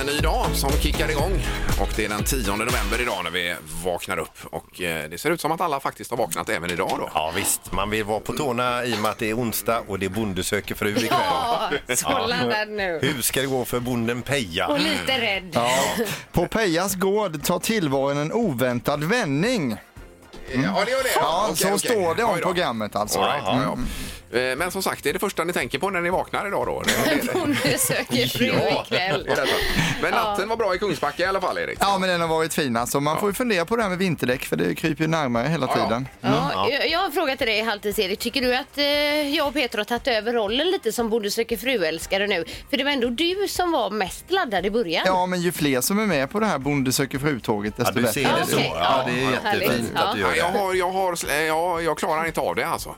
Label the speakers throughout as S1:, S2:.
S1: eh, ny dag som kickar igång och det är den 10 november idag när vi vaknar upp och eh, det ser ut som att alla faktiskt har vaknat även idag då.
S2: Ja visst, man vill vara på tårna i och med att det är onsdag och det är bonde söker fru ikväll.
S3: Ja, sålla den nu.
S2: Hur ska det gå för bonden Peja?
S3: Och lite rädd.
S4: På Pejas gård tar tillvaron en oväntad vändning.
S1: Eh, Ja, det gör det.
S4: Ja,
S1: Okej,
S4: så
S1: okej.
S4: står det
S1: Oj
S4: om
S1: då.
S4: programmet alltså.
S1: All right,
S4: Mm.
S1: ja, ja. Eh, Men som sagt, det är det första ni tänker på när ni vaknar idag då. Det är det.
S3: Bonde söker fru ikväll.
S1: Det är detta. Men natten var bra i Kungsbacka i alla fall, Erik.
S4: Ja, men den har varit fin alltså. Man får ju fundera på det här med vinterdäck för det kryper ju närmare hela
S1: Ja, ja.
S4: tiden.
S3: Ja, jag- jag har en fråga till dig, Haltis Erik. Tycker du att eh, jag och Peter har tagit över rollen lite som Bonde söker fru-älskare nu? För det var ändå du som var mest laddad i början.
S4: Ja, men ju fler som är med på det här Bonde söker fru-tåget
S2: Ja,
S4: desto
S2: du
S4: bättre.
S2: ser det
S3: Okej,
S2: så. Ja,
S3: ja,
S2: det är jättefint
S3: härligt.
S2: att du gör
S1: Nej, jag,
S2: det.
S1: har, jag, har, eh, jag, jag klarar inte av det alltså.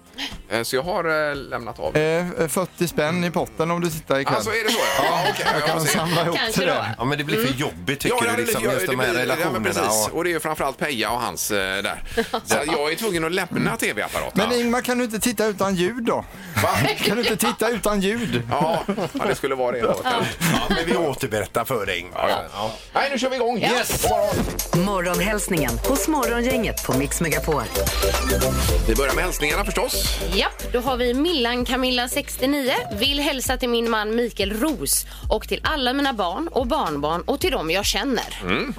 S1: Eh, Så jag har eh, lämnat av.
S4: Eh, 40 spänn i potten om du sitter ikväll.
S1: Alltså är det så? Ja, ja okej.
S4: jag kan
S1: ser.
S4: samla ihop
S3: Kanske
S4: till
S3: då.
S4: det.
S2: Ja, men det blir
S3: Mm.
S2: för jobbigt tycker
S1: ja,
S2: du, liksom,
S1: ja,
S2: just de här
S1: blir- Ja, men
S2: relationerna.
S1: precis.
S2: och-
S1: Och det är ju framförallt Peja och hans eh, där. Så att jag är tvungen att lämna tv-apparaten.
S4: Men Ingmar, kan du inte titta utan ljud då?
S1: Va?
S4: Kan du inte titta utan ljud?
S1: Ja, ja, det skulle vara det. då.
S2: Ja, men vi återberättar för dig. Ingvar.
S1: Ja, ja. Nej, nu kör vi igång.
S2: Yes.
S1: God morgon.
S5: Morgonhälsningen hos Morgongänget på Mix Megapol.
S1: Vi börjar med hälsningarna förstås.
S3: Japp, då har vi Millan Camilla 69. Vill hälsa till min man Mikael Ros och till alla mina barn och barnbarn och till dem jag känner.
S4: Mm.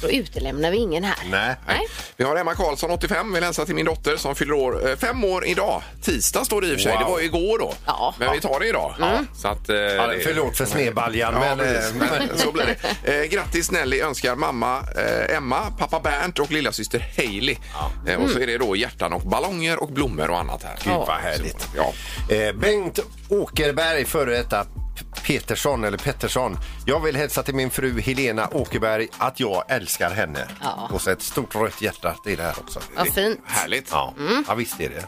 S3: Så då utelämnar vi ingen här.
S2: Nej.
S3: Nej.
S1: Vi har Emma Karlsson, 85, vill hälsa till min dotter som fyller år, eh, fem år idag. Tisdag står det i och för sig,
S2: Wow.
S1: det var ju igår då.
S3: Ja.
S1: Men vi tar det idag. Så att, eh,
S2: Ja,
S1: det-
S2: förlåt för snedbaljan,
S1: Ja,
S2: men...
S1: precis.
S2: eh,
S1: men så blir det. Eh, grattis Nelly önskar mamma eh, Emma, pappa Bernt och lillasyster Hailey. Eh, och så är det då hjärtan och ballonger och blommor och annat här.
S2: Mm. Gud, vad härligt.
S1: Ja.
S2: Eh, Bengt Åkerberg, före detta P- Petersson, eller Pettersson. Jag vill hälsa till min fru Helena Åkerberg att jag älskar henne.
S3: Ja.
S2: Och så ett stort rött hjärta till det här också.
S3: Vad fint.
S1: Härligt.
S2: Ja,
S3: Mm.
S2: ja visst är det.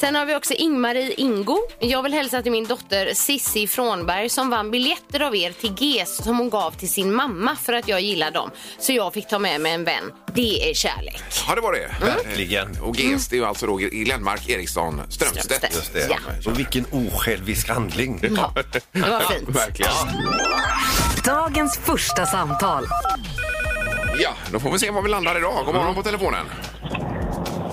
S3: Sen har vi också Ingmarie Ingo. Jag vill hälsa till min dotter Sissi Frånberg som vann biljetter av er till GES som hon gav till sin mamma för att jag gillar dem. Så jag fick ta med mig en vän. Det är kärlek.
S1: Ja, det var det.
S3: Mm.
S2: Verkligen.
S1: Och GES, det är ju alltså då Glenmark, Eriksson, Strömstedt.
S3: Strömstedt.
S2: Det.
S3: Ja.
S2: Och vilken osjälvisk handling.
S3: Ja, det var fint.
S1: Verkligen.
S5: Dagens första samtal.
S1: Ja, då får vi se var vi landar idag. God morgon på telefonen.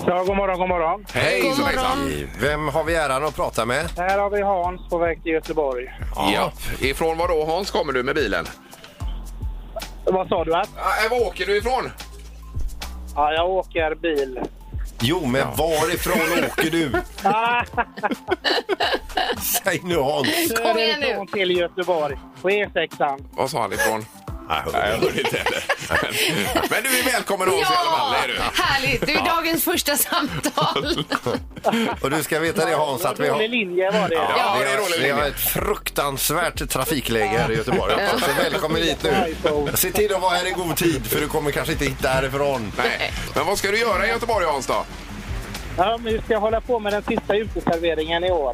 S6: Ja, god morgon, god morgon.
S1: Hej,
S3: God
S1: så hejsan.
S3: morgon.
S2: Vem har vi äran att prata med?
S6: Här har vi Hans på väg till Göteborg.
S1: Ja. Ifrån var då Hans kommer du med bilen?
S6: Vad sa du? Att?
S1: Ja, äh, var åker du ifrån?
S6: Ja, jag åker bil.
S2: Jo, men varifrån åker du?
S6: Ah,
S2: Säg nu Hans.
S3: Kom igen nu.
S6: därifrån till Göteborg på E E6.
S1: Vad sa han ifrån?
S2: Nej,
S1: Nej, jag hörde inte heller. Men- Men du är välkommen Hans i alla fall.
S3: Ja,
S1: Är du.
S3: härligt. Det är dagens första samtal.
S2: Och du ska veta det Hans att vi har...
S6: Dålig linje var det.
S1: Ja,
S2: vi
S1: det är
S2: har-
S1: dålig
S2: Vi har
S1: linje.
S2: ett fruktansvärt trafikläge här i Göteborg. Så välkommen hit nu. Se till att vara här i god tid för du kommer kanske inte hitta härifrån.
S1: Nej. Men vad ska du göra i Göteborg Hans då?
S6: Ja, men vi ska hålla på med den sista uteserveringen i år.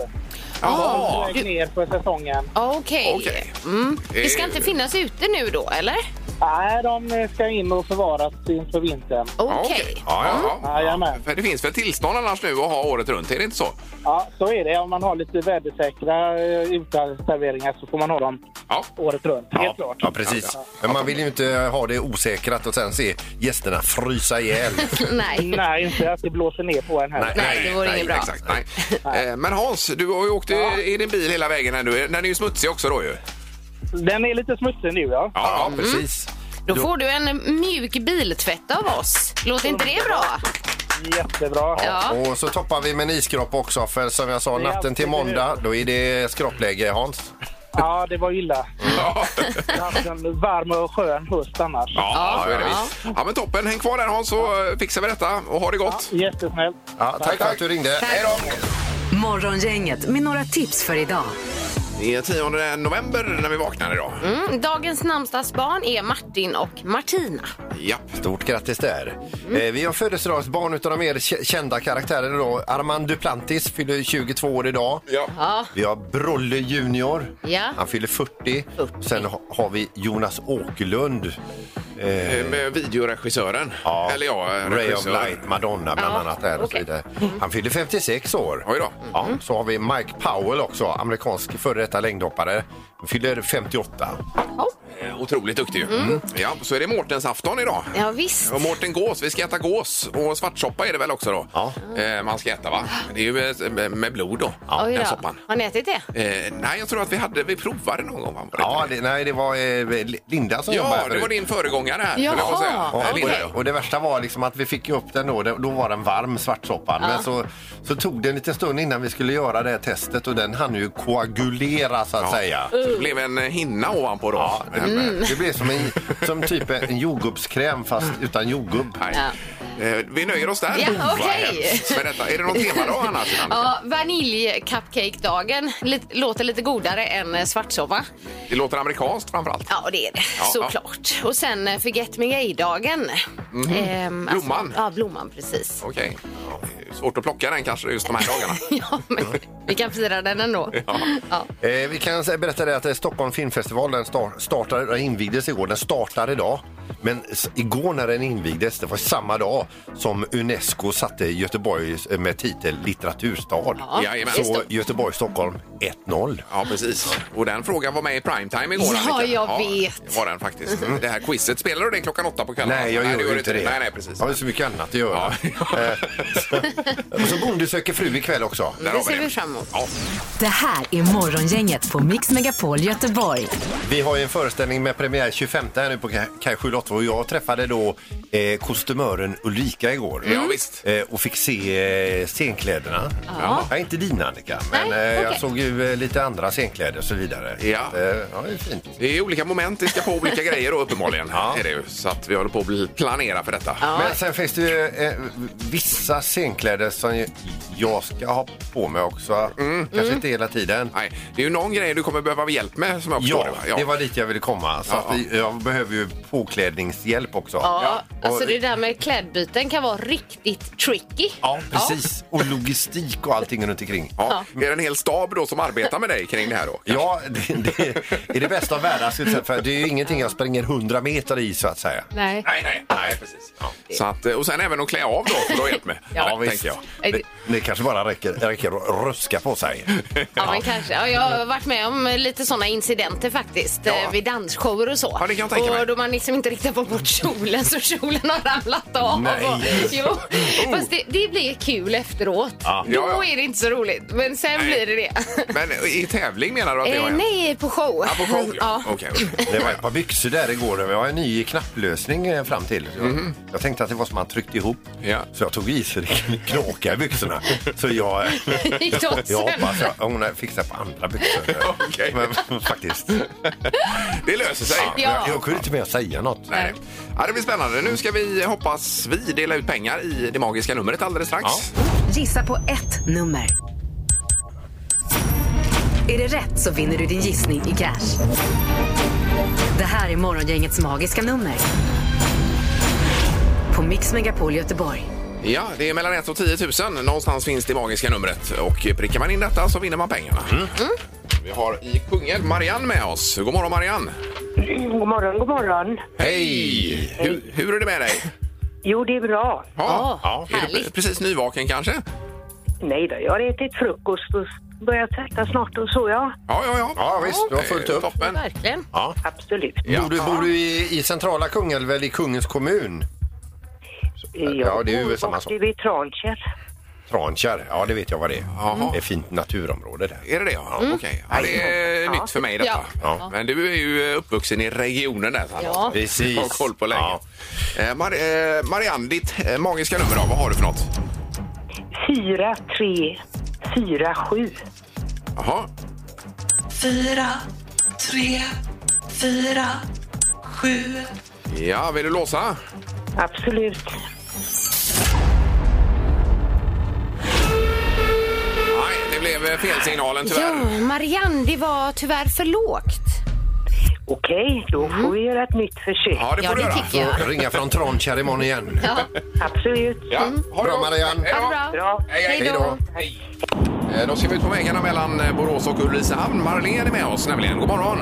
S6: På
S1: Jaha,
S6: väg ner för säsongen.
S3: Okej.
S1: okej.
S3: Mm.
S1: Eh,
S3: Det ska inte finnas ute nu då, eller?
S6: Nej, de ska in och förvaras inför vintern.
S1: Ja,
S3: Okej.
S1: Ja, ja, ja.
S6: Jajamän.
S1: För det finns väl tillstånd annars nu att ha året runt? Är det inte så?
S6: Ja, så är det. Om man har lite vädersäkra eh, uteserveringar så får man ha dem
S1: Ja.
S6: året runt. Helt klart.
S2: Ja, precis. Men man vill ju inte ha det osäkrat och sen se gästerna frysa ihjäl.
S3: Nej.
S6: Nej, inte att det blåser ner på en här.
S3: Nej, det vore
S1: nej,
S3: inget bra.
S1: Exakt, nej. Eh, Men Hans, du har ju åkt i, i din bil hela vägen här nu. Den är ju smutsig också då ju. Ja,
S6: Den är lite smutsig nu, ja.
S1: ja
S2: Precis.
S3: Då får du en mjuk biltvätt av oss. Låter inte det bra?
S6: Jättebra.
S3: Ja.
S2: Och så toppar vi med en iskropp också för som jag sa,
S6: Det är
S2: natten till
S6: alltid
S2: måndag då är det skroppläge Hans.
S6: Ja, det var illa.
S1: ja.
S6: Jag har haft en varm och skön höst annars.
S1: ja, så är det
S3: Ja.
S1: visst. Ja, men toppen. Häng kvar där Hans så eh, fixar vi detta och ha det gott.
S6: Jättesnällt.
S2: Ja, tack för att du ringde.
S1: Hej då!
S5: Morgongänget med några tips för idag.
S1: Det är 10 november när vi vaknar idag.
S3: Mm. Dagens namnsdagsbarn är Martin och Martina.
S1: Ja.
S2: Stort grattis där. Eh, vi har födelsedagsbarn utav de mer k- kända karaktärerna då. Armand Duplantis fyller 22 år idag.
S1: Ja.
S3: Ja.
S2: Vi har Brolle Junior.
S3: Ja.
S2: Han fyller 40.
S3: 40.
S2: Sen ha- har vi Jonas Åkerlund.
S1: eh, med videoregissören.
S2: Ja,
S1: Eller ja, eh,
S2: Ray of Light, Madonna bland
S3: Ja,
S2: annat. Där och så
S3: okej. Mm.
S2: vidare. Han fyllde 56 år.
S1: Oj då.
S2: Ja, så har vi Mike Powell också, amerikansk före detta längdhoppare. Han fyller 58.
S1: Eh, Otroligt duktig ju. Ja, så är det Mårtens afton idag.
S3: Ja, visst.
S1: Och Mårten Gås, vi ska äta gås och svartsoppa är det väl också då?
S2: Ja.
S1: Eh, man ska äta va? Det är ju med, med blod då,
S3: Oj
S1: den
S3: då.
S1: soppan.
S3: Har ni ätit det?
S1: Eh, nej, jag tror att vi hade, vi provade någon gång. va? Var det
S2: Ja,
S1: inte
S2: det, nej, det var eh, Linda som jobbade
S1: ja
S2: här
S1: det var
S2: förut.
S1: din föregångare här.
S3: Jaha,
S1: höll jag på att säga.
S2: Ja,
S1: Eh,
S2: och-
S1: Linda, ja.
S2: och det värsta var liksom att vi fick ju upp den då, då var den varm svartsoppan. Men så, så tog det en liten stund innan vi skulle göra det här testet och den hann ju koagulera så att säga.
S3: Mm.
S1: Det blev en eh, hinna ovanpå då.
S2: Ja, det,
S1: Men, eh,
S2: det blev som, en, som typ en jordgubbskräm fast utan jordgubb.
S1: nej.
S3: Ja.
S1: Eh, Vi nöjer oss där.
S3: Ja,
S1: Vad
S3: okej.
S1: hemskt med detta. Är det något tema då annars?
S3: Ja, vaniljcupcake-dagen Lite- låter lite godare än eh, svartsoppa.
S1: Det låter amerikanskt framförallt.
S3: Ja, det är det.
S1: Ja,
S3: Såklart. Och sen eh, Forget Me Gay-dagen. Ehm, alltså-
S1: Blomman.
S3: ja, blomman, precis.
S1: Okej. Ja, det är Svårt att plocka den kanske just de här dagarna.
S3: Ja, men vi kan fira den ändå.
S1: Ja.
S3: Ja.
S2: Eh, vi kan säga- berätta det att eh, Stockholm filmfestival den star, startade, den invigdes igår. Den startar idag. Men s- igår när den invigdes, det var samma dag som Unesco satte Göteborg eh, med titel litteraturstad.
S3: Ja,
S1: Jajamän.
S3: det är
S2: Så
S3: stort.
S2: Göteborg-Stockholm 1-0.
S1: Ja, precis. Och den frågan var med i primetime igår.
S3: Ja,
S1: Annika.
S3: jag vet.
S1: Det var den faktiskt. Det här quizet, spelar du det klockan åtta på kvällen?
S2: Nej, jag
S1: det
S2: gör ju inte det.
S1: Nej, nej, precis.
S2: Jag har ju så mycket annat att göra.
S1: Ja.
S2: Eh, så- Och så Bonde söker fru ikväll också.
S1: Där
S3: Det
S1: har
S3: ser vi fram emot.
S1: Ja,
S5: Det här är Morgongänget på Mix Megapol Göteborg.
S2: Vi har ju en föreställning med premiär 25 här nu på Kaj- Kaj 7 och jag träffade då eh, kostymören Ulrika igår.
S1: Ja, visst.
S2: Eh, och fick se eh, scenkläderna. Ja. inte dina Annika, men
S3: Nej,
S2: eh, jag
S3: okej.
S2: såg ju eh, lite andra scenkläder och så vidare.
S1: Ja.
S2: Eh, ja, det är fint.
S1: det är olika moment, vi ska på olika grejer då uppenbarligen.
S2: Ja.
S1: Är det ju. Så att vi håller på att bli- planera för detta.
S2: Men sen finns det ju eh, vissa scenkläder som ju jag ska ha på mig också. Kanske inte hela tiden.
S1: Mm. Nej, det är ju någon grej du kommer behöva hjälp med som jag förstår
S2: Ja,
S1: va?
S2: det var dit jag ville komma. Så
S1: Ja,
S2: att vi, jag behöver ju påklädningshjälp också.
S3: Ja, alltså
S2: Och-
S3: det där med klädbyten kan vara riktigt tricky.
S2: Ja, precis. Och logistik och allting runt omkring.
S1: Ja. Är det en hel stab då som arbetar med dig kring det här då?
S2: Ja, det, det är det bästa av världar. skulle jag säga, För det är ju ingenting jag springer 100 meter i så att säga.
S3: Nej.
S1: Nej, nej, nej, precis. Ja. Så att, och sen även att klä av då, för du har hjälp med.
S3: Ja,
S1: tänker jag.
S2: Det, det kanske bara räcker, räcker att ruska på sig.
S3: Ja, men kanske. Ja, jag har varit med om lite sådana incidenter faktiskt eh, vid dansshower och så.
S1: Ja, det kan jag tänka
S3: och
S1: mig.
S3: då man liksom inte riktigt får bort kjolen så kjolen har ramlat av.
S2: Nej.
S3: Och, jo, fast det, det blir kul efteråt. Då
S1: Oh. Ja, ja.
S3: är det inte så roligt, men sen
S1: Nej.
S3: blir det det.
S1: Men i tävling menar du att det har
S3: Eh,
S1: hänt?
S3: nej, på show.
S1: Ja, på show,
S3: Ja.
S1: ja. Okej, okej.
S2: Det var ett par byxor där igår. Jag har en ny knapplösning eh, fram till. Jag, jag tänkte att det var som man tryckte ihop.
S1: Mhm. Ja.
S2: Så jag tog i så det knakade i byxorna. Så jag,
S3: Gick det åt
S2: jag
S3: sen?
S2: hoppas att hon har fixat på andra byxor.
S1: Okej.
S2: Men, faktiskt.
S1: Det löser sig.
S3: Ja.
S2: Jag, jag kunde inte mer säga något.
S1: Nej. Ja, det blir spännande. Nu ska vi, hoppas vi, dela ut pengar i det magiska numret alldeles strax.
S5: Gissa på ett nummer. Är det rätt så vinner du din gissning i cash. Det här är Morgongängets magiska nummer. På Mix Megapol Göteborg.
S1: Ja, det är mellan 1 och 10 000. Någonstans finns det magiska numret. Och prickar man in detta så vinner man pengarna. Mm. Vi har i Kungälv Marianne med oss. God morgon Marianne!
S7: Mm, God morgon, god morgon.
S1: Hej! Hur, hur är det med dig?
S7: Jo, det är bra.
S1: Ja,
S3: Ja,
S1: är du
S3: härligt.
S1: precis nyvaken kanske?
S7: Nej då, jag har ätit frukost och börjat tvätta snart och så ja.
S1: Ja, ja, ja.
S2: Ja, visst, du har fullt
S1: Eh,
S2: upp.
S1: Toppen.
S3: Verkligen.
S7: Absolut.
S2: Bor du, bor du i, i centrala Kungälv eller i kungens kommun? ja, det är ju väl samma sak.
S7: Och vid Transkärr.
S2: Trankärr, ja det vet jag vad det är.
S1: Jaha.
S2: Det är fint naturområde där.
S1: Är det det? Ja, okej. Ja, det är nytt för mig detta.
S2: Mm. Ja. Ja.
S1: Men du är ju uppvuxen i regionen där. Så att-
S3: Ja.
S2: Precis.
S1: Har koll på läget.
S2: Ja.
S1: Eh, Mar eh, Marianne, ditt eh, magiska nummer då, vad har du för något?
S7: 4, 3, 4, 7.
S1: Jaha. Fyra, tre, fyra, sju. Ja, vill du låsa?
S7: Absolut.
S1: Nej, det blev eh, felsignalen
S3: Ja,
S1: tyvärr.
S3: Marianne, det var tyvärr för lågt.
S7: Okej, då
S2: Mm.
S7: får vi göra ett nytt försök.
S1: Ja, det får
S3: Ja,
S1: du
S3: det
S1: göra.
S3: tycker jag.
S2: Så ringa från Trankärr imorgon igen.
S7: Absolut.
S1: Ja, ha det
S2: Bra,
S1: gott.
S2: Marianne.
S1: Hej då.
S3: Ha det Mm. bra.
S7: Bra.
S1: Hej, hej.
S3: Hej då.
S1: Hej. Eh, Då ska vi ut på vägarna mellan eh, Borås och Ulricehamn. Marlene är med oss nämligen. God morgon!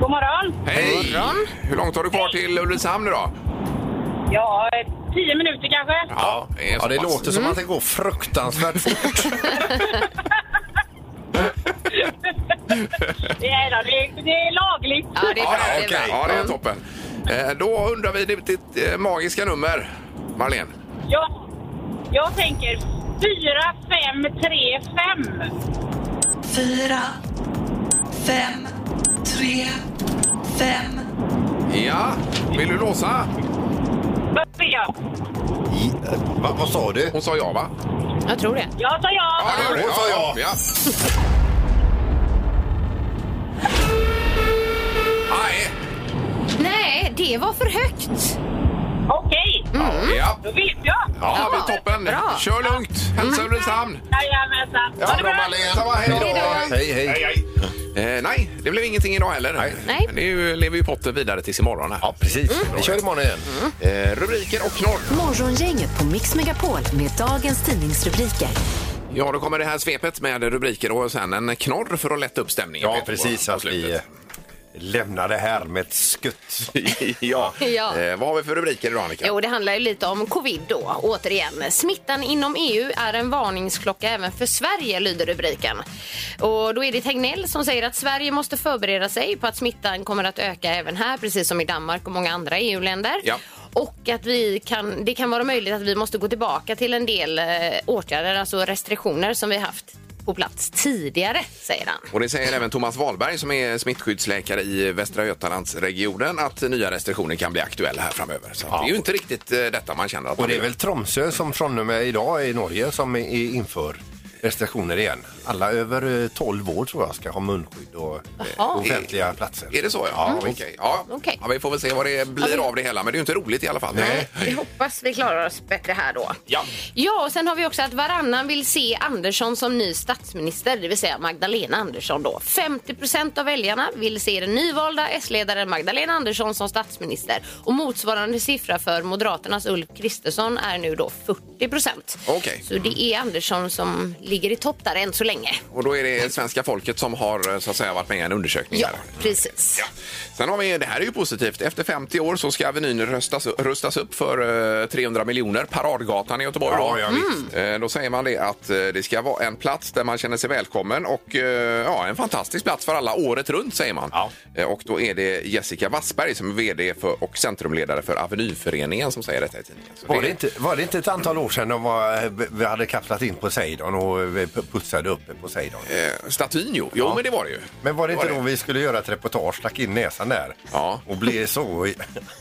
S7: God morgon.
S8: morgon.
S1: Hej! Hur långt har du kvar till Ulricehamn idag?
S8: Ja, eh, tio minuter kanske.
S1: Ja, är
S2: Ja,
S1: så
S2: det
S1: pass.
S2: låter
S3: Mm.
S2: som att det går fruktansvärt fort.
S8: Nej då, det, det är lagligt.
S3: Ja, det är bra.
S1: Ja, ja,
S3: det är Mm.
S1: okej.
S3: bra.
S1: ja, det är toppen. Eh, Då undrar vi ditt, ditt eh, magiska nummer, Marlene.
S8: Jag, jag tänker fyra, fem, tre, fem.
S9: Fyra, fem, tre, fem.
S1: Ja, vill du låsa?
S8: Vad säger jag?
S2: I- eh, Va, vad sa du?
S1: Hon sa ja, va?
S3: Jag tror det.
S8: Jag sa ja.
S1: det gjorde
S2: hon sa ja.
S1: ja. Nej.
S3: Nej, det var för högt.
S8: Okej,
S1: Ja.
S8: då vet jag.
S1: Ja, men toppen.
S3: Bra.
S1: Kör lugnt. Hälsa Ulricehamn.
S8: Jajamensan. Ha det bra.
S1: Detsamma, Hej då.
S2: Hej, hej.
S1: Eh, nej, det blev ingenting idag heller.
S3: Nej.
S1: Men det är ju, lever ju potten vidare tills imorgon. Här.
S2: Ja, precis.
S3: Mm.
S2: Vi kör imorgon igen.
S1: Eh, rubriker och knorr.
S5: Morgongänget på Mix Megapol med dagens tidningsrubriker.
S1: Ja, då kommer det här svepet med rubriker och sen en knorr för att lätta upp stämningen.
S2: Ja,
S1: Peter,
S2: precis.
S1: på- på
S2: Att vi eh,
S1: slutet.
S2: lämnar det här med ett skutt.
S1: ja.
S3: Ja.
S1: Eh, vad har vi för rubriker idag, Annika?
S3: Jo, det handlar ju lite om covid då, återigen. Smittan inom EU är en varningsklocka även för Sverige, lyder rubriken. Och då är det Tegnell som säger att Sverige måste förbereda sig på att smittan kommer att öka även här, precis som i Danmark och många andra EU-länder.
S1: Ja.
S3: Och att vi kan, det kan vara möjligt att vi måste gå tillbaka till en del eh, åtgärder, alltså restriktioner som vi haft på plats tidigare, säger han.
S1: Och det säger även Thomas Wahlberg som är smittskyddsläkare i Västra Götalandsregionen att nya restriktioner kan bli aktuella här framöver. Så att det är ju inte riktigt eh, detta man känner att
S2: Och
S1: man
S2: det är
S1: vill.
S2: väl Tromsö som från och med idag i Norge som är är inför restriktioner igen. Alla över eh, 12 år tror jag ska ha munskydd och eh,
S3: Jaha.
S2: offentliga platser.
S1: Är det så? Ja, okej. Ja.
S3: Okej.
S1: Ja, vi får väl se vad det blir av det hela, men det är ju inte roligt i alla fall. Nej.
S3: Vi hoppas vi klarar oss bättre här då.
S1: Ja.
S3: Ja, och sen har vi också att varannan vill se Andersson som ny statsminister, det vill säga Magdalena Andersson då. 50 procent av väljarna vill se den nyvalda S-ledaren Magdalena Andersson som statsminister. Och motsvarande siffra för Moderaternas Ulf Kristersson är nu då 40 procent.
S1: Okej.
S3: Så det är Andersson som ligger i topp där än så länge.
S1: Och då är det svenska folket som har eh, så att säga, varit med i en undersökning.
S3: Ja,
S1: här.
S3: precis.
S1: Ja. Sen har vi, det här är ju positivt, efter 50 år så ska Avenyn rustas, rustas upp för eh, 300 miljoner, Paradgatan i Göteborg.
S2: Ja,
S1: då.
S2: ja, visst.
S1: Eh, Då säger man det att eh, det ska vara en plats där man känner sig välkommen och eh, ja, en fantastisk plats för alla året runt säger man.
S2: Ja.
S1: Eh, Och då är det Jessica Wassberg som är VD för, och centrumledare för Avenyföreningen som säger detta i tidningen. Så
S2: Var det, inte, var det inte ett antal år sedan de var, eh, vi hade kapslat in Poseidon och eh, putsade upp Poseidon?
S1: eh, Statyn jo, jo men det var det ju.
S2: Men var det inte då vi skulle göra ett reportage, stack in näsan där
S1: Ja.
S2: och blev så...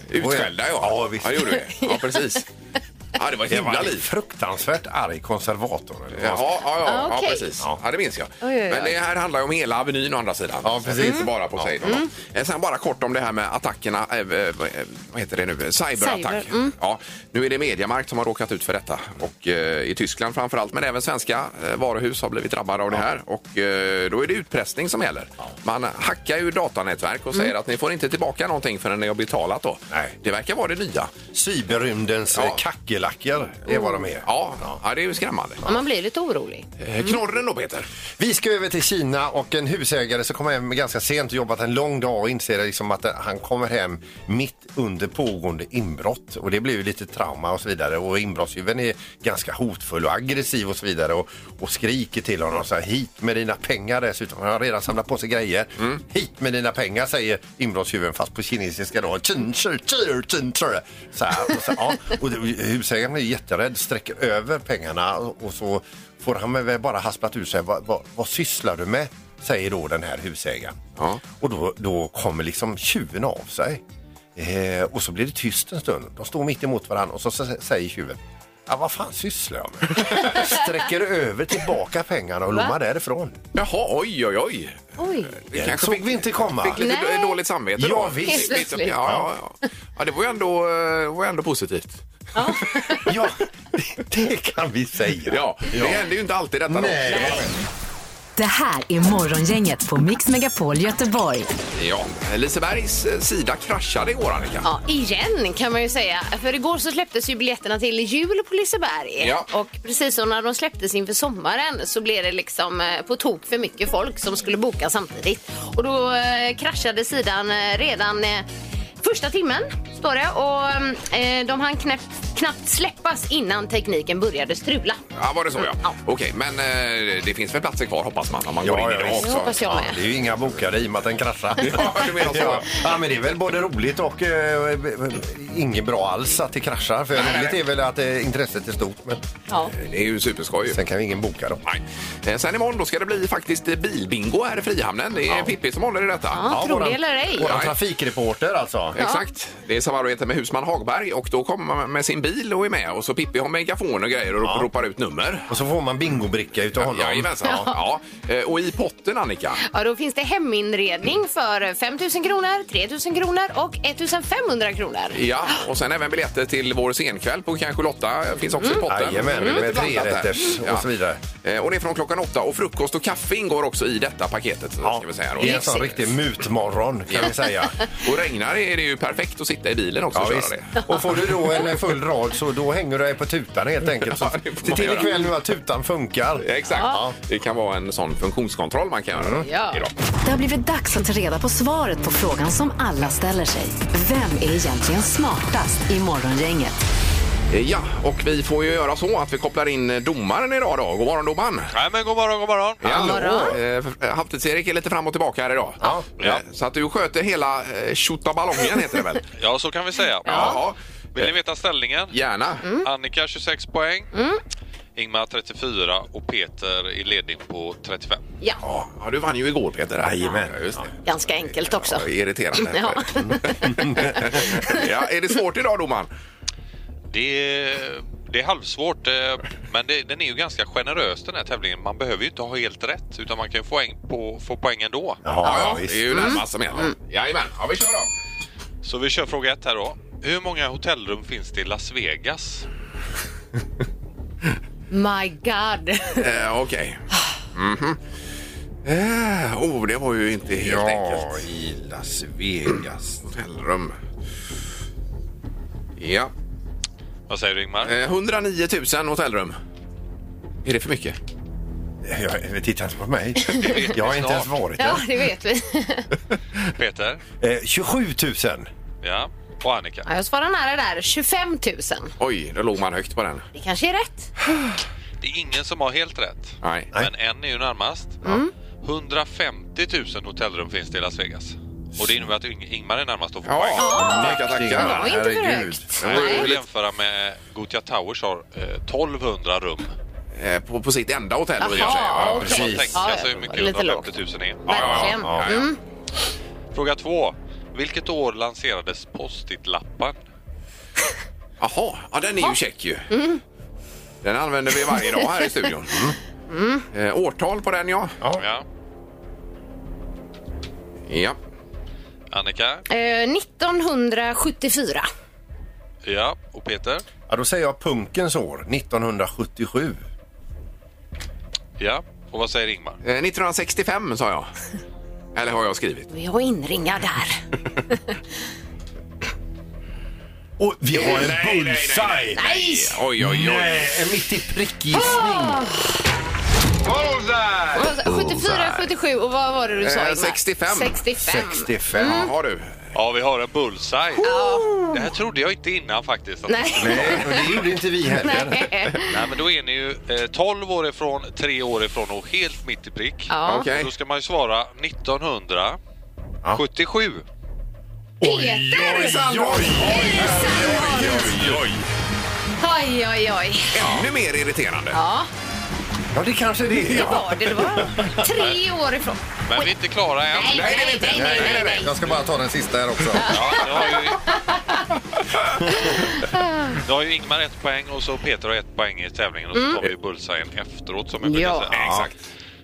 S1: Utskällda ja.
S2: Ja, visst.
S1: Ja, gjorde vi. ja precis. Ja, det var ett
S2: Det var
S1: himla
S2: en
S1: liv.
S2: fruktansvärt arg konservator. eller vad man
S1: Ja,
S2: ska-
S1: ja, ja,
S3: Ah, okej.
S1: ja precis. Ja. det minns jag.
S3: Oj, oj, oj.
S1: Men det här handlar ju om hela Avenyn å andra sidan.
S2: Ja, precis.
S1: Inte bara på sig.
S3: Mm.
S1: Sen bara kort om det här med attackerna. eh, eh, Vad heter det nu? Cyberattack.
S3: Cyber, mm.
S1: Ja, nu är det Mediamarkt som har råkat ut för detta. Och eh, i Tyskland framför allt, men även svenska eh, varuhus har blivit drabbade av det här. Och eh, då är det utpressning som gäller. Man hackar ju datanätverk och
S3: Mm.
S1: säger att ni får inte tillbaka någonting förrän ni har betalat då.
S2: Nej.
S1: Det verkar vara det nya.
S2: Cyberrymdens
S1: Ja.
S2: ja. kackerlackor, det är vad de är.
S1: Ja, ja det är ju skrämmande.
S3: Och man blir lite orolig.
S1: Eh, Knorren då Peter?
S2: Vi ska över till Kina och en husägare som kommer hem ganska sent och jobbat en lång dag och inser liksom att han kommer hem mitt under pågående inbrott och det blir ju lite trauma och så vidare och inbrottstjuven är ganska hotfull och aggressiv och så vidare och, och skriker till honom så här hit med dina pengar dessutom. Han har redan samlat på sig grejer. Hit med dina pengar säger inbrottstjuven fast på kinesiska då. Chin, chur, chur, chin, chur. Så här, och så, ja. och husägaren är jätterädd, sträcker över pengarna och och så får han väl bara hasplat ur sig. Vad, vad, vad sysslar du med? Säger då den här husägaren.
S1: Ja.
S2: Och då, då kommer liksom tjuven av sig. Eh, och så blir det tyst en stund. De står mitt emot varandra och så, så säger tjuven. Ja, vad fan sysslar jag med? Sträcker över tillbaka pengarna och lommar därifrån.
S1: Jaha, oj, oj, oj.
S3: Oj.
S1: Det
S2: Den såg vi inte komma.
S1: Fick lite
S3: Nej.
S1: då- dåligt samvete
S2: Ja,
S1: då.
S2: visst.
S3: Helt plötsligt.
S1: Ja, ja, ja. ja, det var ju ändå, eh, var ju ändå positivt.
S2: Ja, det kan vi säga.
S1: Ja, det händer ju inte alltid detta. då.
S2: Nej.
S5: Det här är Morgongänget på Mix Megapol Göteborg.
S1: Ja, Lisebergs eh, sida kraschade igår, Annika.
S3: Ja, igen kan man ju säga. För igår så släpptes ju biljetterna till jul på Liseberg.
S1: Ja.
S3: Och precis som när de släpptes inför sommaren så blev det liksom eh, på tok för mycket folk som skulle boka samtidigt. Och då eh, kraschade sidan eh, redan eh, första timmen, står det. Och eh, de hann knäppt, knappt släppas innan tekniken började strula.
S1: Ja, var det så ja.
S3: Ja.
S1: Okej, men eh, det finns väl platser kvar hoppas man om man
S2: Ja,
S1: går in
S2: ja,
S1: idag
S2: visst.
S3: Det
S1: också.
S3: hoppas jag med.
S2: Det är ju inga bokade i och med att den kraschar.
S1: Ja, du menar så.
S2: Ja. ja, men det är väl både roligt och eh, eh, inget bra alls att det kraschar. För roligt är väl att eh, intresset är stort, men
S3: Ja.
S1: Det är ju superskoj. ju.
S2: sen kan ju ingen boka dem.
S1: Nej. Eh, Sen imorgon då ska det bli faktiskt eh, bilbingo här i Frihamnen. Det är Pippi som håller i detta.
S3: Ja, tror det eller ej.
S2: Vår trafikreporter alltså.
S1: Exakt. Det är samarbete med Husman Hagberg och då kommer man med sin bil och är med och så Pippi har megafon och grejer och ropar ut nummer.
S2: Och så får man bingobricka utav honom.
S1: Jajamensan. Ja. Ja. Eh, Och i potten Annika,
S3: Ja, då finns det heminredning för 5 000 kronor, 3 000 kronor och 1 500 kronor.
S1: ja. och sen även biljetter till vår scenkväll på kanske Lotta finns också i potten.
S2: Mm. Jajamän,
S1: Det är lite
S2: med
S1: blandat där.
S2: trerätters och så vidare.
S1: Eh, Och det är från klockan åtta och frukost och kaffe ingår också i detta paketet. Ska vi säga. då.
S2: det är en sån riktig mutmorgon kan vi säga.
S1: Och regnar det är det ju perfekt att sitta i bilen också och
S2: Ja,
S1: köra
S2: visst.
S1: det.
S2: Och får du då en full rad så då hänger du dig på tutan helt enkelt. Så
S1: Ja, det får
S2: se
S1: man
S2: till
S1: göra.
S2: ikväll nu att tutan funkar.
S1: Ja, Exakt. Det kan vara en sån funktionskontroll man kan
S2: Mm.
S1: göra
S3: Ja.
S1: idag.
S5: Det har blivit dags att ta reda på svaret på frågan som alla ställer sig. Vem är egentligen smartast i Morgongänget?
S1: Eh, Ja, och vi får ju göra så att vi kopplar in eh, domaren idag då. God morgon domaren!
S10: Nej, men god morgon, god morgon.
S1: Eh, Halvtids-Erik är lite fram och tillbaka här idag. Ja. Så att du sköter hela eh, tjottaballongen heter det väl?
S10: Ja, så kan vi säga.
S1: Jaha. Eh,
S10: Vill Mm. ni veta ställningen?
S1: Gärna.
S10: Annika 26 poäng. Ingmar 34 och Peter i ledning på 35.
S3: Ja,
S1: Ja, du vann ju igår Peter. Jajamän. Just det.
S3: ganska enkelt också.
S1: Ja, irriterande.
S3: Ja.
S1: ja, är det svårt idag domaren?
S10: Det är, det är halvsvårt, eh, men det, den är ju ganska generös den här tävlingen. Man behöver ju inte ha helt rätt, utan man kan ju få, poäng på, få poäng ändå.
S2: Ja,
S1: det är ju närmast som gäller. Jajamän, ja vi kör då.
S10: Så vi kör fråga ett här då. Hur många hotellrum finns det i Las Vegas?
S3: My God.
S1: Eh, Okej. Mhm. Eh, oh, det var ju inte helt enkelt.
S2: i Las Vegas.
S1: Hotellrum. Ja.
S10: Vad säger du Ingmar?
S1: Eh, 109 000 hotellrum. Är det för mycket?
S2: Jag, titta inte på mig. Jag har inte ens varit där.
S3: Ja, det vet vi.
S10: Peter?
S2: Eh, 27 000.
S10: Ja. Och Annika?
S3: Ja, jag svarar nära där. 25 000.
S1: Oj, då låg man högt på den.
S3: Det kanske är rätt.
S10: Det är ingen som har helt rätt.
S1: Nej.
S10: Men en är ju närmast. 150 000 hotellrum finns det i Las Vegas. Och det innebär att Ing- Ingmar är närmast och får
S1: Ja,
S10: poäng.
S1: tackar,
S3: Det var
S1: tackar.
S3: inte för
S2: herregud.
S3: högt.
S10: Det går ju att
S3: Nej.
S10: jämföra med Gotia Towers har eh, 1200 rum.
S1: Eh, på, på sitt enda hotell då i och för sig.
S3: Jaha,
S10: Då
S1: Ja,
S10: kan man
S2: precis.
S10: tänka sig alltså
S3: Ja,
S10: hur
S3: lite
S10: mycket 150 000 är.
S3: Verkligen.
S1: ja, ja.
S3: Mm.
S10: Fråga två. Vilket år lanserades Post-it-lappen?
S1: Jaha, ja, den är ju check ju. Den använder vi varje dag här i studion. Eh, årtal på den ja.
S10: Ja.
S1: Ja.
S10: Annika?
S3: Eh, 1974.
S10: Ja. Och Peter?
S2: Ja, då säger jag punkens år, 1977.
S10: Ja. Och vad säger Ingmar?
S1: Eh, 1965 sa jag. Eller har jag skrivit?
S3: Vi har inringar där.
S2: Och vi har en
S1: nej,
S2: bullseye!
S3: Nej!
S1: Oj, oj, oj.
S2: Nej, en mitt i prickgissning.
S3: 74, 77 och vad var det du sa
S1: Oh, Eh,
S3: Ingmar?
S1: 65.
S3: 65.
S2: 65.
S1: Har du?
S10: Ja, vi har en bullseye. Det här trodde jag inte innan faktiskt. att-
S3: Nej.
S2: Nej, och det gjorde inte vi heller.
S10: Nej, men då är ni ju eh, 12 år ifrån, 3 år ifrån och helt mitt i prick.
S3: Ja.
S1: Okej.
S10: Då ska man ju svara 1977.
S1: Oj, oj, oj.
S3: Oj, oj, oj.
S1: Ännu mer irriterande.
S3: Ja,
S2: Ja, det kanske det är.
S3: det var det. Det var tre år ifrån.
S10: Men vi är inte klara än.
S1: Nej, det är det inte. Nej, nej, nej.
S2: Jag ska bara ta den sista här också.
S10: Ja, nu har ju... Då har ju Ingmar ett poäng och så Peter har ett poäng i tävlingen och så tar vi bullseyen efteråt som jag brukar
S3: Mm. Ja.
S10: säga. Exakt.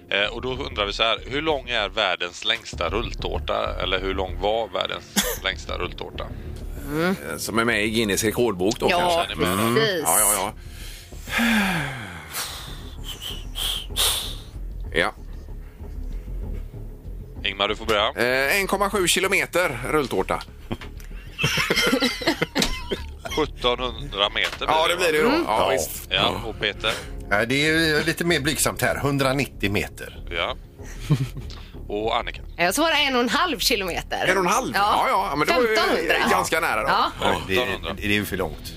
S10: Eh, och då undrar vi så här, hur lång är världens längsta rulltårta? Eller hur lång var världens längsta rulltårta?
S1: Eh, Som är med i Guinness rekordbok då
S3: Ja,
S1: kanske. Mm.
S3: precis.
S1: Ja, ja, ja. Ja.
S10: Ingmar, du får börja.
S1: Eh, 1,7 kilometer rulltårta.
S10: 1700 meter
S1: Ja, det blir det ju då.
S10: va?
S1: Mm. Ja,
S2: Ja.
S1: visst.
S10: Ja, och Peter.
S2: Nej, Eh, det är ju lite mer blygsamt här. 190 meter.
S10: Ja. Och Annika.
S3: Jag svarar en och en halv kilometer.
S1: En och en halv? Ja, ja. men det var ju
S3: 1500.
S1: ganska nära då.
S3: Ja.
S2: Ja, det, det,
S10: 800.
S2: det är ju för långt.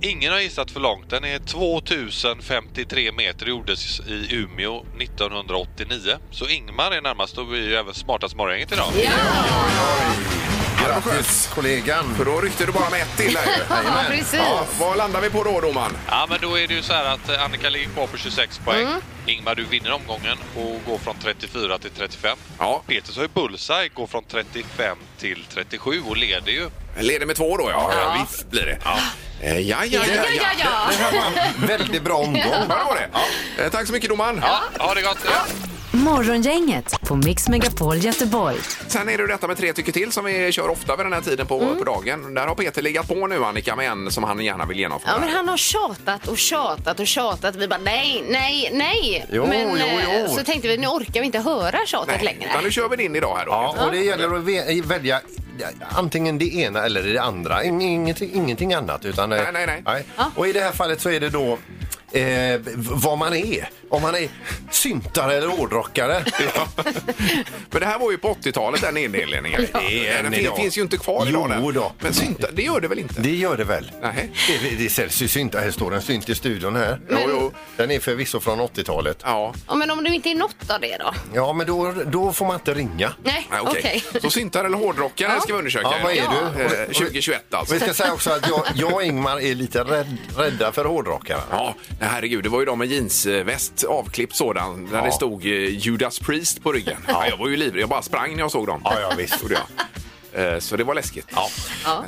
S10: Ingen har gissat för långt. Den är 2053 meter. gjordes i Umeå 1989. Så Ingmar är närmast och vi är ju även smartast morgongänget idag.
S2: Grattis kollegan!
S1: För då ryckte du bara med ett till här ju.
S3: Ja, precis.
S1: Ja, vad landar vi på då, domaren?
S10: Ja, men då är det ju så här att eh, Annika ligger kvar på 26 poäng. Ingmar, du vinner omgången och går från 34 till 35.
S1: Ja.
S10: Peters har ju bullseye, går från 35 till 37 och leder ju.
S1: Leder med två då, ja. ja. Visst blir det. Ja. Eh, Ja, ja, ja.
S3: Ja, ja, ja.
S2: Väldigt bra omgång.
S1: Vad var det? Eh, Tack så mycket, domaren.
S10: Ja, ha det gott!
S5: Morgongänget på Mix Megapol Göteborg.
S1: Sen är det ju detta med tre tycker till som vi kör ofta vid den här tiden på,
S2: Mm.
S1: på dagen. Där har Peter legat på nu, Annika, med en som han gärna vill genomföra.
S3: Ja, men han har tjatat och tjatat och tjatat. Vi bara nej, nej, nej.
S2: Jo,
S3: men
S2: jo,
S3: eh,
S2: jo.
S3: så tänkte vi nu orkar vi inte höra tjatet
S1: Nej,
S3: längre.
S1: utan nu kör vi din idag här då.
S2: Ja, och det gäller att ve- välja antingen det ena eller det andra. In- Ingenting, ingenting annat. Utan, eh,
S1: Nej, nej, nej.
S2: Och i det här fallet så är det då eh, v- vad man är. Om man är syntare eller hårdrockare.
S1: För det här var ju på 80-talet den indelningen.
S2: Det är
S1: Den
S2: än
S1: fin-
S2: idag.
S1: finns ju inte kvar idag. den.
S2: Jo då.
S1: Men synta, det gör det väl inte?
S2: Det gör det väl?
S1: Nej.
S2: Det, det säljs ju syntar. Här står en synt i studion här.
S1: Jo, jo.
S2: Den är förvisso från 80-talet.
S1: Ja.
S3: Ja, men om du inte är något av det då?
S2: Ja, men då, då får man inte ringa.
S3: Nej,
S1: Nej,
S3: okej.
S1: okej. Så syntar eller hårdrockare ska vi undersöka.
S2: Ja, vad är du?
S1: Eh, 2021 alltså.
S2: Vi ska säga också att jag, jag och Ingmar är lite rädd, rädda för hårdrockare.
S1: Ja, nej, herregud, det var ju de med jeansväst, avklippt sådan, där
S2: Ja.
S1: det stod eh, Judas Priest på ryggen. Ja. Jag var ju livrädd, jag bara sprang när jag såg dem.
S2: Ja, ja, visst.
S1: Gjorde jag. Eh, Så det var läskigt.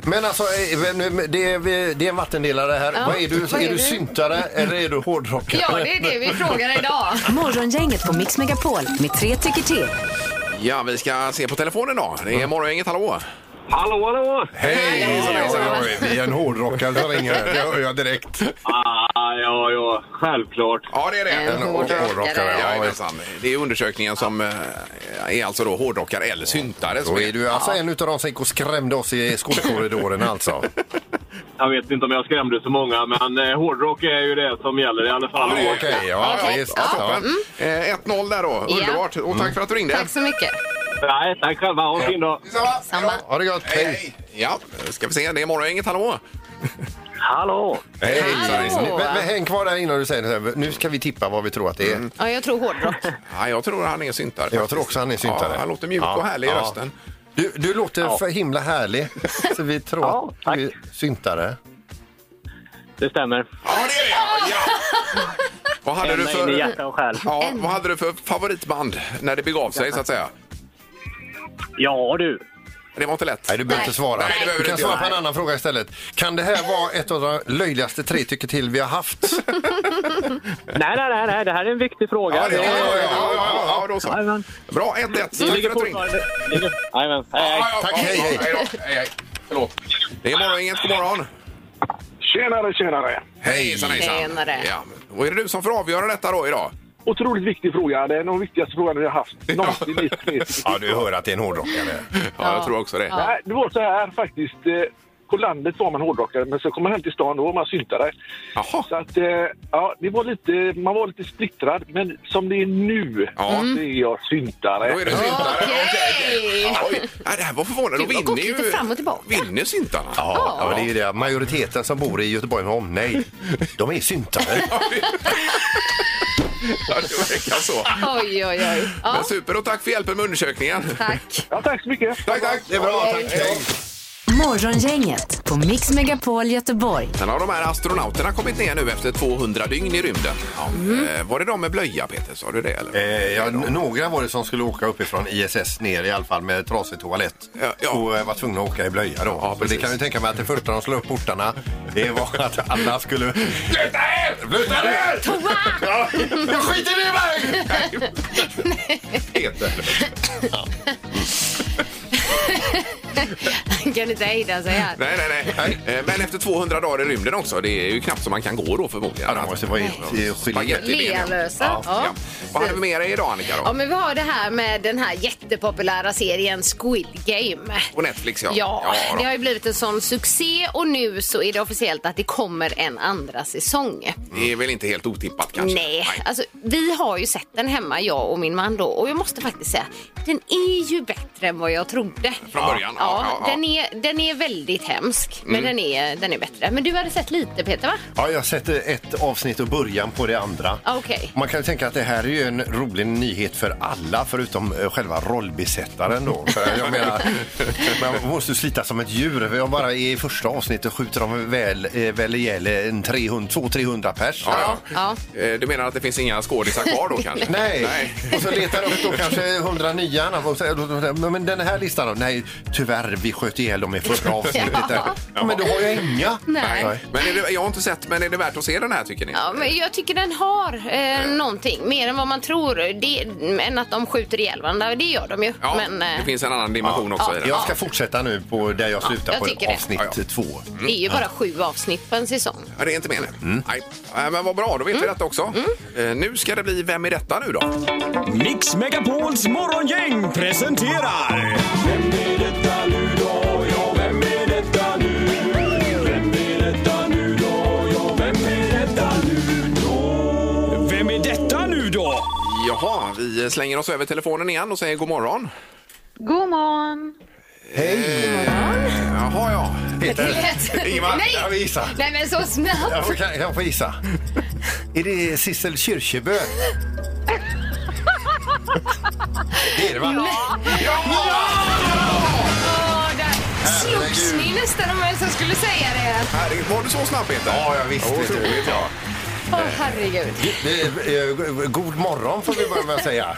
S2: Men alltså, eh, men, eh, det är, det är en vattendelare här. Vad är du?
S3: Vad
S2: är
S3: är
S2: du
S3: du?
S2: syntare eller är du hårdrockare?
S3: Ja, det är det vi frågar idag.
S5: Morgongänget på Mix Megapol med tre tycker till.
S1: Ja, vi ska se på telefonen då. Det
S2: Mm.
S1: är morgongänget, hallå!
S6: Hallå, hallå!
S2: Hej!
S1: hejsan.
S2: Oj, Det är en hårdrockare som ringer. Det hör jag direkt.
S6: Ah, ja, ja, självklart.
S1: Ja, det är det.
S3: En hårdrockare.
S1: Ja,
S2: hårdrockare. Ja, visst.
S1: jajamensan. det är undersökningen som eh, är alltså då hårdrockare eller syntare. som
S2: Då är du alltså en utav de som gick och skrämde oss i skolkorridoren alltså.
S6: Jag vet inte om jag skrämde så många, men eh, hårdrock är ju det som gäller i alla fall.
S1: Ja, det är-
S6: Och-
S2: Okej, ja,
S1: Ja,
S2: visst.
S1: ja,
S2: Ja.
S1: toppen. Eh, 1-0 där då.
S3: Ja.
S1: Underbart. Och tack för att du ringde.
S3: Tack så mycket.
S6: Nej, tack själva. Ha en fin dag.
S1: Detsamma.
S3: Samma.
S2: Ha det gött.
S1: Hej,
S2: Hej!
S1: hej. Ja, ska vi se. Det är morgongänget, hallå!
S6: Hallå!
S2: Hej!
S3: Hallå.
S2: Men, men häng kvar där innan du säger det. här. Nu ska vi tippa vad vi tror att det är.
S3: Ja, jag tror hårdrock.
S1: Ja, jag tror han är syntare.
S2: Jag
S1: faktiskt.
S2: tror också han är syntare.
S1: Ja, han låter mjuk
S2: Ja,
S1: och härlig i
S2: ja.
S1: rösten.
S2: Du, du låter för himla härlig. Så vi tror
S6: Ja,
S2: att
S6: tack.
S2: du är syntare.
S6: Det stämmer.
S1: Ja, det är det! Ja. Vad, hade du
S6: Ända in i
S1: för,
S6: hjärta och själ.
S1: ja, vad hade du för favoritband när det begav sig, så att säga?
S6: Ja, du.
S1: Det var inte lätt.
S2: Nej, du behöver inte svara.
S1: Nej, det behöver
S2: du
S1: du
S2: kan
S1: inte
S2: svara
S1: göra.
S2: på en annan fråga istället. Kan det här vara ett av de löjligaste tre tycker till vi har haft?
S6: Nej, nej, nej, nej. Det här är en viktig fråga.
S1: Ja, det, ja,
S6: Det-
S1: ja, ja, ja, ja, ja, då så.
S6: Jajamän.
S1: Bra, 1-1. Tack
S6: Det
S1: för att du ringde.
S6: ligger- Jajamän. Hej, hej.
S1: Ja, ja,
S2: Tack,
S1: ja,
S2: hej,
S1: ja,
S2: hej.
S1: då. hej, hej. Förlåt. Det är morgongänget, god morgon.
S11: Tjenare, tjenare!
S1: Hejsan, hejsan.
S3: Tjenare.
S1: Ja. Och är det du som får avgöra detta då idag?
S11: Otroligt viktig fråga. Det är den viktigaste frågan vi har haft någonsin i mitt liv.
S2: Ja, du hör att det är en hårdrockare.
S1: Ja, jag tror också det.
S11: Nej, Det var så här faktiskt. eh, På landet var man hårdrockare, men så kom man hem till stan och var man syntare.
S1: Jaha.
S11: Så att, eh, ja, det var lite, Eh, man var lite splittrad, men som det är nu
S1: Ja.
S11: så är jag syntare.
S1: Då är det syntare.
S3: Okej.
S1: Oj, nej, det här var förvånande.
S3: Gud,
S1: Då
S3: vad gått
S1: vinner ju...
S3: lite fram och tillbaka.
S1: Vinner syntarna.
S2: Ja, men det är ju det. Majoriteten som bor i Göteborg med omnejd, de är syntare.
S1: Ja, det verkar så.
S3: Oj, oj, oj. Ja,
S1: Men super och tack för hjälpen med undersökningen.
S3: tack.
S11: Ja, tack så mycket!
S1: Tack, tack. Det är bra. Tack, hej.
S5: Morgongänget på Mix Megapol Göteborg.
S1: Sen har de här astronauterna kommit ner nu efter 200 dygn i rymden. Eh, Var det de med blöja, Peter? Sa du det? Eller?
S2: Eh, ja, n- några var det som skulle åka uppifrån ISS ner i alla fall med trasig toalett
S1: Ja, ja.
S2: och eh, var tvungna att åka i blöja då.
S1: Ja,
S2: Så det
S1: precis.
S2: kan ju tänka mig att det första de slog upp portarna det var att alla skulle... Sluta er! Sluta er! Ja, Jag skiter i mig!
S1: Peter.
S3: kan inte hejda sig här.
S1: Nej, nej, nej. Eh, Men efter 200 dagar i rymden också, det är ju knappt så man kan gå då förmodligen.
S2: Ja, de måste vara helt, eh,
S1: Spagetti i benen.
S3: Lealösa. Ja.
S1: Vad hade vi med dig idag Annika
S3: Ja,
S1: då?
S3: men vi har det här med den här jättepopulära serien Squid Game.
S1: På Netflix ja.
S3: Ja,
S1: då.
S3: det har ju blivit en sån succé och nu så är det officiellt att det kommer en andra säsong.
S1: Det är väl inte helt otippat kanske?
S3: Nej, alltså vi har ju sett den hemma jag och min man då och jag måste faktiskt säga den är ju bättre än vad jag trodde.
S1: Från början, ja,
S3: Ja,
S1: ja, ja.
S3: Den, är, den är väldigt hemsk men
S1: Mm.
S3: den, är, den är bättre. Men du hade sett lite Peter va?
S2: Ja, jag sätter ett avsnitt och början på det andra.
S3: Ja, Okej.
S2: Man kan ju tänka att det här är ju en rolig nyhet för alla förutom eh, själva rollbesättaren då. För jag menar, man måste ju slita som ett djur. Jag bara i första avsnittet skjuter de väl, eh, väl ihjäl en 300, 200-300 pers.
S1: Ja,
S3: ja.
S1: Eh, Du menar att det finns inga skådisar kvar då kanske?
S2: Nej.
S1: Nej.
S2: och så letar de upp då kanske 100 nya. och så- Men den här listan då? Nej, tyvärr, vi sköt ihjäl dem i förra avsnittet. där.
S3: Ja.
S2: Ja, men då har jag inga.
S3: Nej.
S1: Men är det, jag har inte sett, men är det värt att se den här tycker ni?
S3: Ja, men jag tycker den har eh, någonting mer än vad man tror. Det, än att de skjuter ihjäl varandra, det gör de ju.
S1: Ja,
S3: men, eh,
S1: det finns en annan dimension också i den.
S2: Jag ska fortsätta nu på där jag slutar
S3: jag tycker
S2: på
S3: det.
S2: avsnitt
S1: Ja, ja.
S2: två.
S3: Det är ju
S1: Mm.
S3: bara sju avsnitt på en säsong.
S1: Ja, det är inte meningen. Nej. Eh, Men vad bra, då vet
S3: Mm.
S1: vi detta också. Eh, Nu ska det bli Vem är detta nu då?
S12: Mix Megapols morgongäng presenterar... Vem är detta nu då? Ja, vem är detta nu? Vem är detta nu då? Ja, vem är detta nu då? Vem är detta nu då?
S1: Jaha, vi slänger oss över telefonen igen och säger god morgon.
S13: God morgon!
S1: Jaha, ja.
S2: Peter. Ingmar,
S3: Nej!
S2: jag vill gissa.
S3: Nej, men så
S2: Jag
S3: snabbt!
S2: får, kan jag får gissa. Är det Sissel Kyrkjebø? Det är det, va?
S3: Åh, där slogs ni nästan om vem som skulle säga det.
S1: Herregud, var du så snabb Peter?
S2: Ja, jag visste det.
S1: Otroligt, ja.
S3: Åh,
S1: Eh.
S3: herregud.
S2: Det är, eh, God morgon får vi börja med att säga.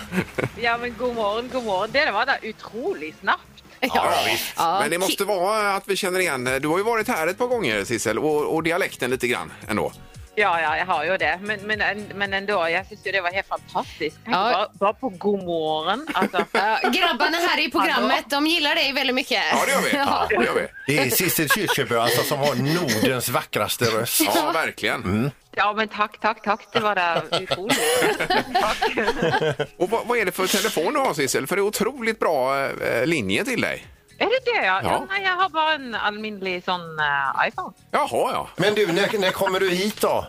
S13: Ja men god morgon, god morgon. Det var där otroligt snabbt.
S1: Ja, visst.
S3: Ja,
S1: Men det måste vara att vi känner igen. Du har ju varit här ett par gånger Sissel och, och dialekten lite grann ändå.
S13: Ja, ja, jag har ju det. Men, men, men ändå, jag tyckte det var helt fantastiskt. Tänk
S3: Ja.
S13: bara, bara på god morgon. Alltså.
S3: Ja, Grabbarna här i programmet, de gillar dig väldigt mycket.
S1: Ja, det gör vi.
S3: Ja.
S1: Ja, det gör vi.
S2: Det är Sissel Kyrkjebø alltså, som har Nordens vackraste röst.
S1: Ja, verkligen.
S2: Mm.
S13: Ja men tack, tack, tack. Det var där otroligt.
S1: Och vad, vad är det för telefon du har Sissel? För det är otroligt bra eh, linje till dig.
S13: Är det det? Ja.
S1: Ja.
S13: Nej, jag har bara en allmänlig sån eh, iPhone.
S1: Jaha, ja.
S2: Men du, när, när kommer du hit då?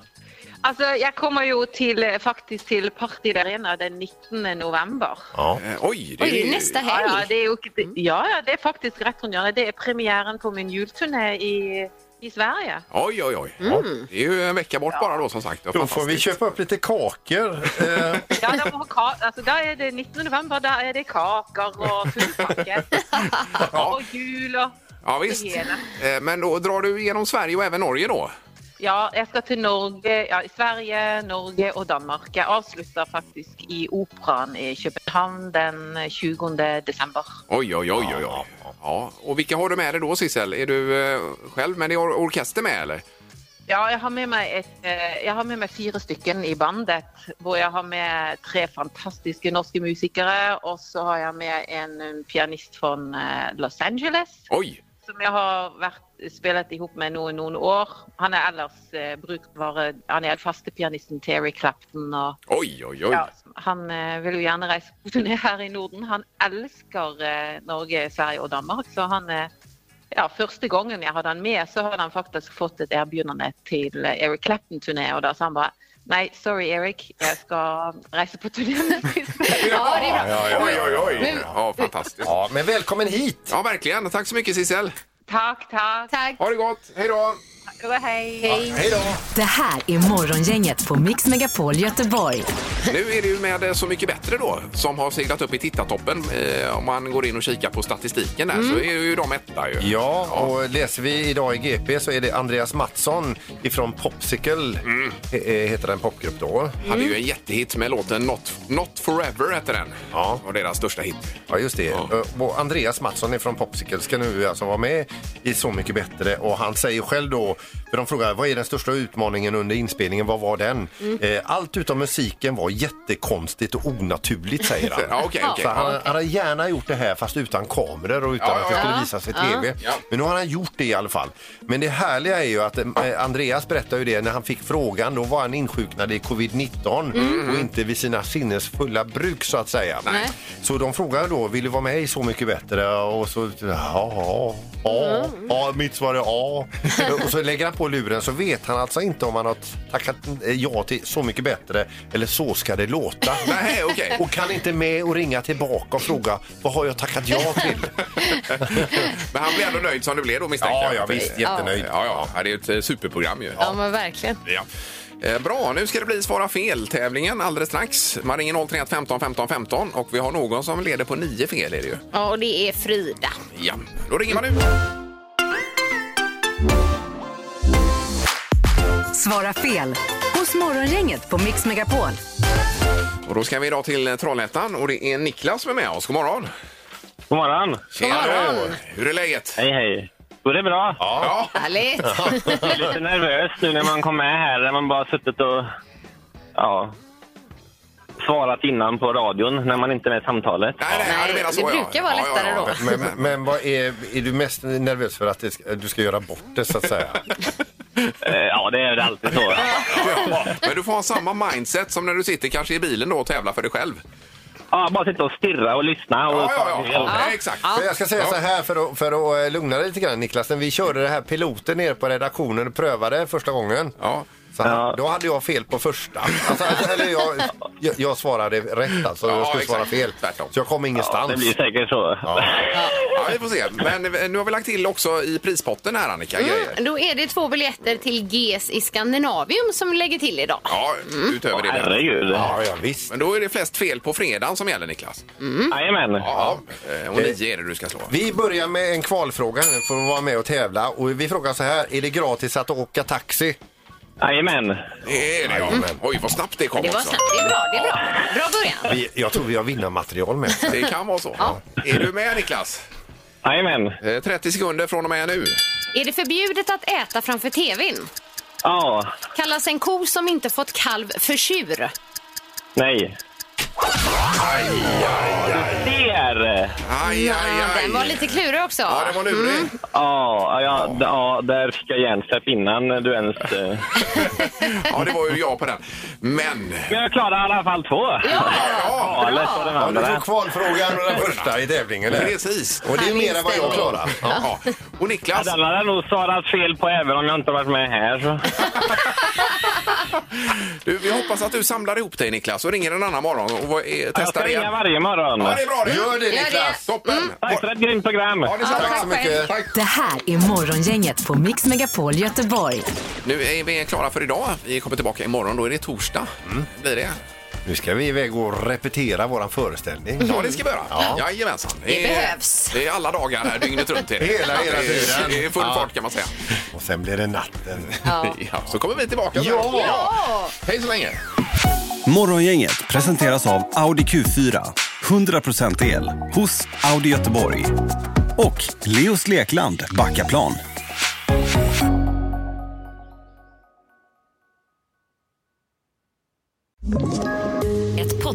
S13: Alltså jag kommer ju till, eh, faktiskt till Partid Arena den 19 november.
S2: Ja.
S1: Eh, oj, det
S3: Oj,
S1: är
S3: det
S1: ju-
S3: är nästa
S13: Ja, ja,
S3: helg.
S13: det är ju, det,
S1: Mm.
S13: ja, ja, det är faktiskt rätt runt hörnet. Det är premiären på min julturné i, i Sverige.
S1: Oj, oj, oj.
S3: Mm.
S1: Det är ju en vecka bort bara då som sagt. Ja,
S2: Då får vi
S1: fantastiskt.
S2: köpa upp lite kakor. Eh,
S13: Ja, de har ka- alltså, där är det 19 november, där är det kakor och fullpacket.
S1: Ja,
S13: Och jul och
S1: ja visst.
S13: det hela.
S1: Eh, Men då drar du genom Sverige och även Norge då?
S13: Ja, jag ska till Norge, ja, i Sverige, Norge och Danmark. Jag avslutar faktiskt i Operan i Köpenhamn den eh, 20 december.
S1: Oj, oj, oj, oj. oj. Ja. Och vilka har du med dig då Sissel? Är du eh, själv med? Är or- orkester med eller?
S13: Ja, jag har med mig, ett, eh, jag har med mig fyra stycken i bandet. Hvor jag har med tre fantastiska norska musiker och så har jag med en eh, pianist från eh, Los Angeles
S1: Oj!
S13: som jag har varit, spelat ihop med nu i några år. Han är annars eh, brukt vara, han är den faste pianisten Terry Clapton och
S1: Oj, oj, oj.
S13: ja, han eh, vill ju gärna resa på turné här i Norden. Han älskar eh, Norge, Sverige och Danmark så han eh, Ja, första gången jag hade han med så hade han faktiskt fått ett erbjudande till eh, Eric Clapton-turné och då sa han bara Nej, sorry Eric, jag ska resa på turné
S3: Ja, det är bra.
S2: ja, ja, ja, ja.
S1: Oj, Ja, fantastiskt.
S2: ja, men välkommen hit!
S1: Ja, verkligen. Tack så mycket Sissel.
S13: Tack, tack.
S3: Tack.
S1: Ha det gott. Hej då!
S13: Och hej.
S2: Hej då!
S5: Det här är Morgongänget på Mix Megapol Göteborg.
S1: Nu är det ju med eh, Så mycket bättre då som har seglat upp i tittartoppen. Eh, om man går in och kikar på statistiken där så är ju de etta ju.
S2: Ja, och läser vi idag i GP så är det Andreas Mattsson ifrån Popsicle, he- eh, heter den popgrupp då.
S1: Hade ju en jättehit med låten Not, Not Forever hette den.
S2: Ja.
S1: Och deras största hit.
S2: Ja, just det. Eh, Och Andreas Mattsson ifrån Popsicle ska nu alltså vara med i Så mycket bättre och han säger själv då på. För de frågade vad är den största utmaningen under inspelningen, vad var den?
S14: Mm.
S2: Eh, Allt utom musiken var jättekonstigt och onaturligt säger han.
S14: Ja, okej, okej.
S2: Så han,
S14: Ja.
S2: han hade gärna gjort det här fast utan kameror och utan
S14: Ja,
S2: att
S14: ja,
S2: det skulle
S14: ja.
S2: visas i
S14: Ja.
S2: tv.
S14: Ja.
S2: Men nu har han gjort det i alla fall. Men det härliga är ju att eh, Andreas berättar ju det när han fick frågan. Då var han insjuknad i covid-19
S14: Mm.
S2: och inte vid sina sinnesfulla bruk så att säga.
S14: Nej.
S2: Så de frågade då, vill du vara med i Så mycket bättre? Och så, ja, ja, ja, mitt svar är ja. och så lägger han på luren så vet han alltså inte om han har tackat eh, ja till Så mycket bättre eller Så ska det låta.
S1: Nej, okej.
S2: Och kan inte med och ringa tillbaka och fråga, vad har jag tackat ja till?
S1: Men han blev ändå nöjd som det blev då misstänker
S2: Ja,
S1: jag.
S2: ja, visst, jättenöjd.
S1: Ja, ja, ja, det är ett eh, superprogram ju.
S3: Ja, men verkligen.
S1: Ja. Eh, Bra, nu ska det bli Svara fel-tävlingen alldeles strax. Man ringer 031 15 15 15 och vi har någon som leder på nio fel är det ju.
S3: Ja, och det är Frida.
S1: Ja, då ringer man nu.
S5: Svara fel hos Morgongänget på Mix Megapol.
S1: Och då ska vi idag till eh, Trollhättan och det är Niklas som är med oss. God morgon! God morgon! Tjena
S3: God morgon.
S1: du! Hur är läget? Hej hej!
S15: Går det bra?
S1: Ja.
S3: Härligt!
S15: Jag är lite nervös nu när man kom med här, när man bara suttit och ja, svarat innan på radion när man inte är med i samtalet.
S2: Men, men, men vad är, är du mest nervös för att det, ska- du ska göra bort det så att säga?
S15: Eh, ja, det är det alltid så.
S1: Men du får ha samma mindset som när du sitter kanske i bilen då och tävlar för dig själv.
S15: Ja, bara sitta och stirra och lyssna. Och
S1: ja, ja, ja. exakt.
S2: För jag ska säga så här för att, för att eh, lugna dig lite grann Niklas. När vi körde det här piloten ner på redaktionen och prövade första gången. Så han, Då hade jag fel på första. Alltså, alltså, eller jag, jag, jag svarade rätt alltså.
S1: Ja,
S2: jag skulle
S1: exakt.
S2: svara fel. Så jag kom ingenstans.
S1: det blir
S15: säkert så.
S2: Ja.
S1: Ja, vi får se. Men eh, nu har vi lagt till också i prispotten här Annika,
S3: Mm.
S1: grejer.
S3: Då är det två biljetter till GES i Skandinavium som vi lägger till idag.
S1: Ja, mm, utöver det.
S15: Herregud.
S2: Ja, ja, visst.
S1: Men då är det flest fel på fredagen som gäller, Niklas.
S15: Jajamän.
S1: Ja, eh, och nio är det du ska slå.
S2: Vi börjar med en kvalfråga nu för att vara med och tävla. Och vi frågar så här, är det gratis att åka taxi?
S15: Jajamän.
S1: Det är det, ja. Oj, vad snabbt det kom
S3: Det var
S1: också.
S3: snabbt. Det är bra. Det är bra. Bra början.
S2: Vi, jag tror vi har vinnarmaterial med.
S1: Det kan vara så.
S3: Ja.
S1: Är du med, Niklas?
S15: Jajamän.
S1: 30 sekunder från och med nu.
S3: Är det förbjudet att äta framför tvn?
S15: Ja,
S3: Kallas en ko som inte fått kalv för tjur?
S15: nej. Du ser!
S1: Aj, aj,
S3: Ja, Den var lite klurig också.
S1: Ja, den var lurig.
S15: Ja, ja, d- ja, där fick jag hjärnsläpp innan du ens... eh.
S1: Ja, det var ju jag på den. Men...
S15: Men jag klarade i alla fall två. Ja, Kvalet och den
S2: Ja, du
S15: andra.
S2: får kvalfrågan och den första i tävlingen. eller?
S1: Precis.
S2: Och det är mer än vad jag klarar.
S1: Ja. Och Niklas?
S15: Ja, den hade jag nog svarat fel på även om jag inte varit med här. Så.
S1: Du, vi hoppas att du samlar ihop dig, Niklas, och ringer en annan morgon och vad- eh, testar
S15: jag ska
S1: igen.
S15: ringa varje morgon.
S1: Ja, det är bra. Det.
S2: Gör det,
S1: Gör
S2: Niklas.
S1: det. Toppen.
S15: Tack för ett grymt program.
S1: Ja, det är så.
S2: Tack så mycket.
S5: Det här är Morgongänget på Mix Megapol Göteborg.
S1: Nu är vi klara för idag. Vi kommer tillbaka imorgon. Då är det torsdag. Blir det?
S2: Nu ska vi iväg och repetera våran föreställning.
S1: Ja, det ska vi göra.
S2: Ja.
S1: Jajamensan.
S2: Det
S1: är-
S2: behövs.
S1: Det är alla dagar här, dygnet runt. Är det.
S2: Hela, hela
S1: Det är-
S2: tiden.
S1: Det är full
S2: Ja.
S1: fart kan man säga.
S2: Och sen blir det natten.
S1: Ja. så kommer vi tillbaka. sen.
S2: Ja.
S1: Hej så länge!
S16: Morgongänget presenteras av Audi Q4. 100% el hos Audi Göteborg. Och Leos Lekland Backaplan.
S17: Ett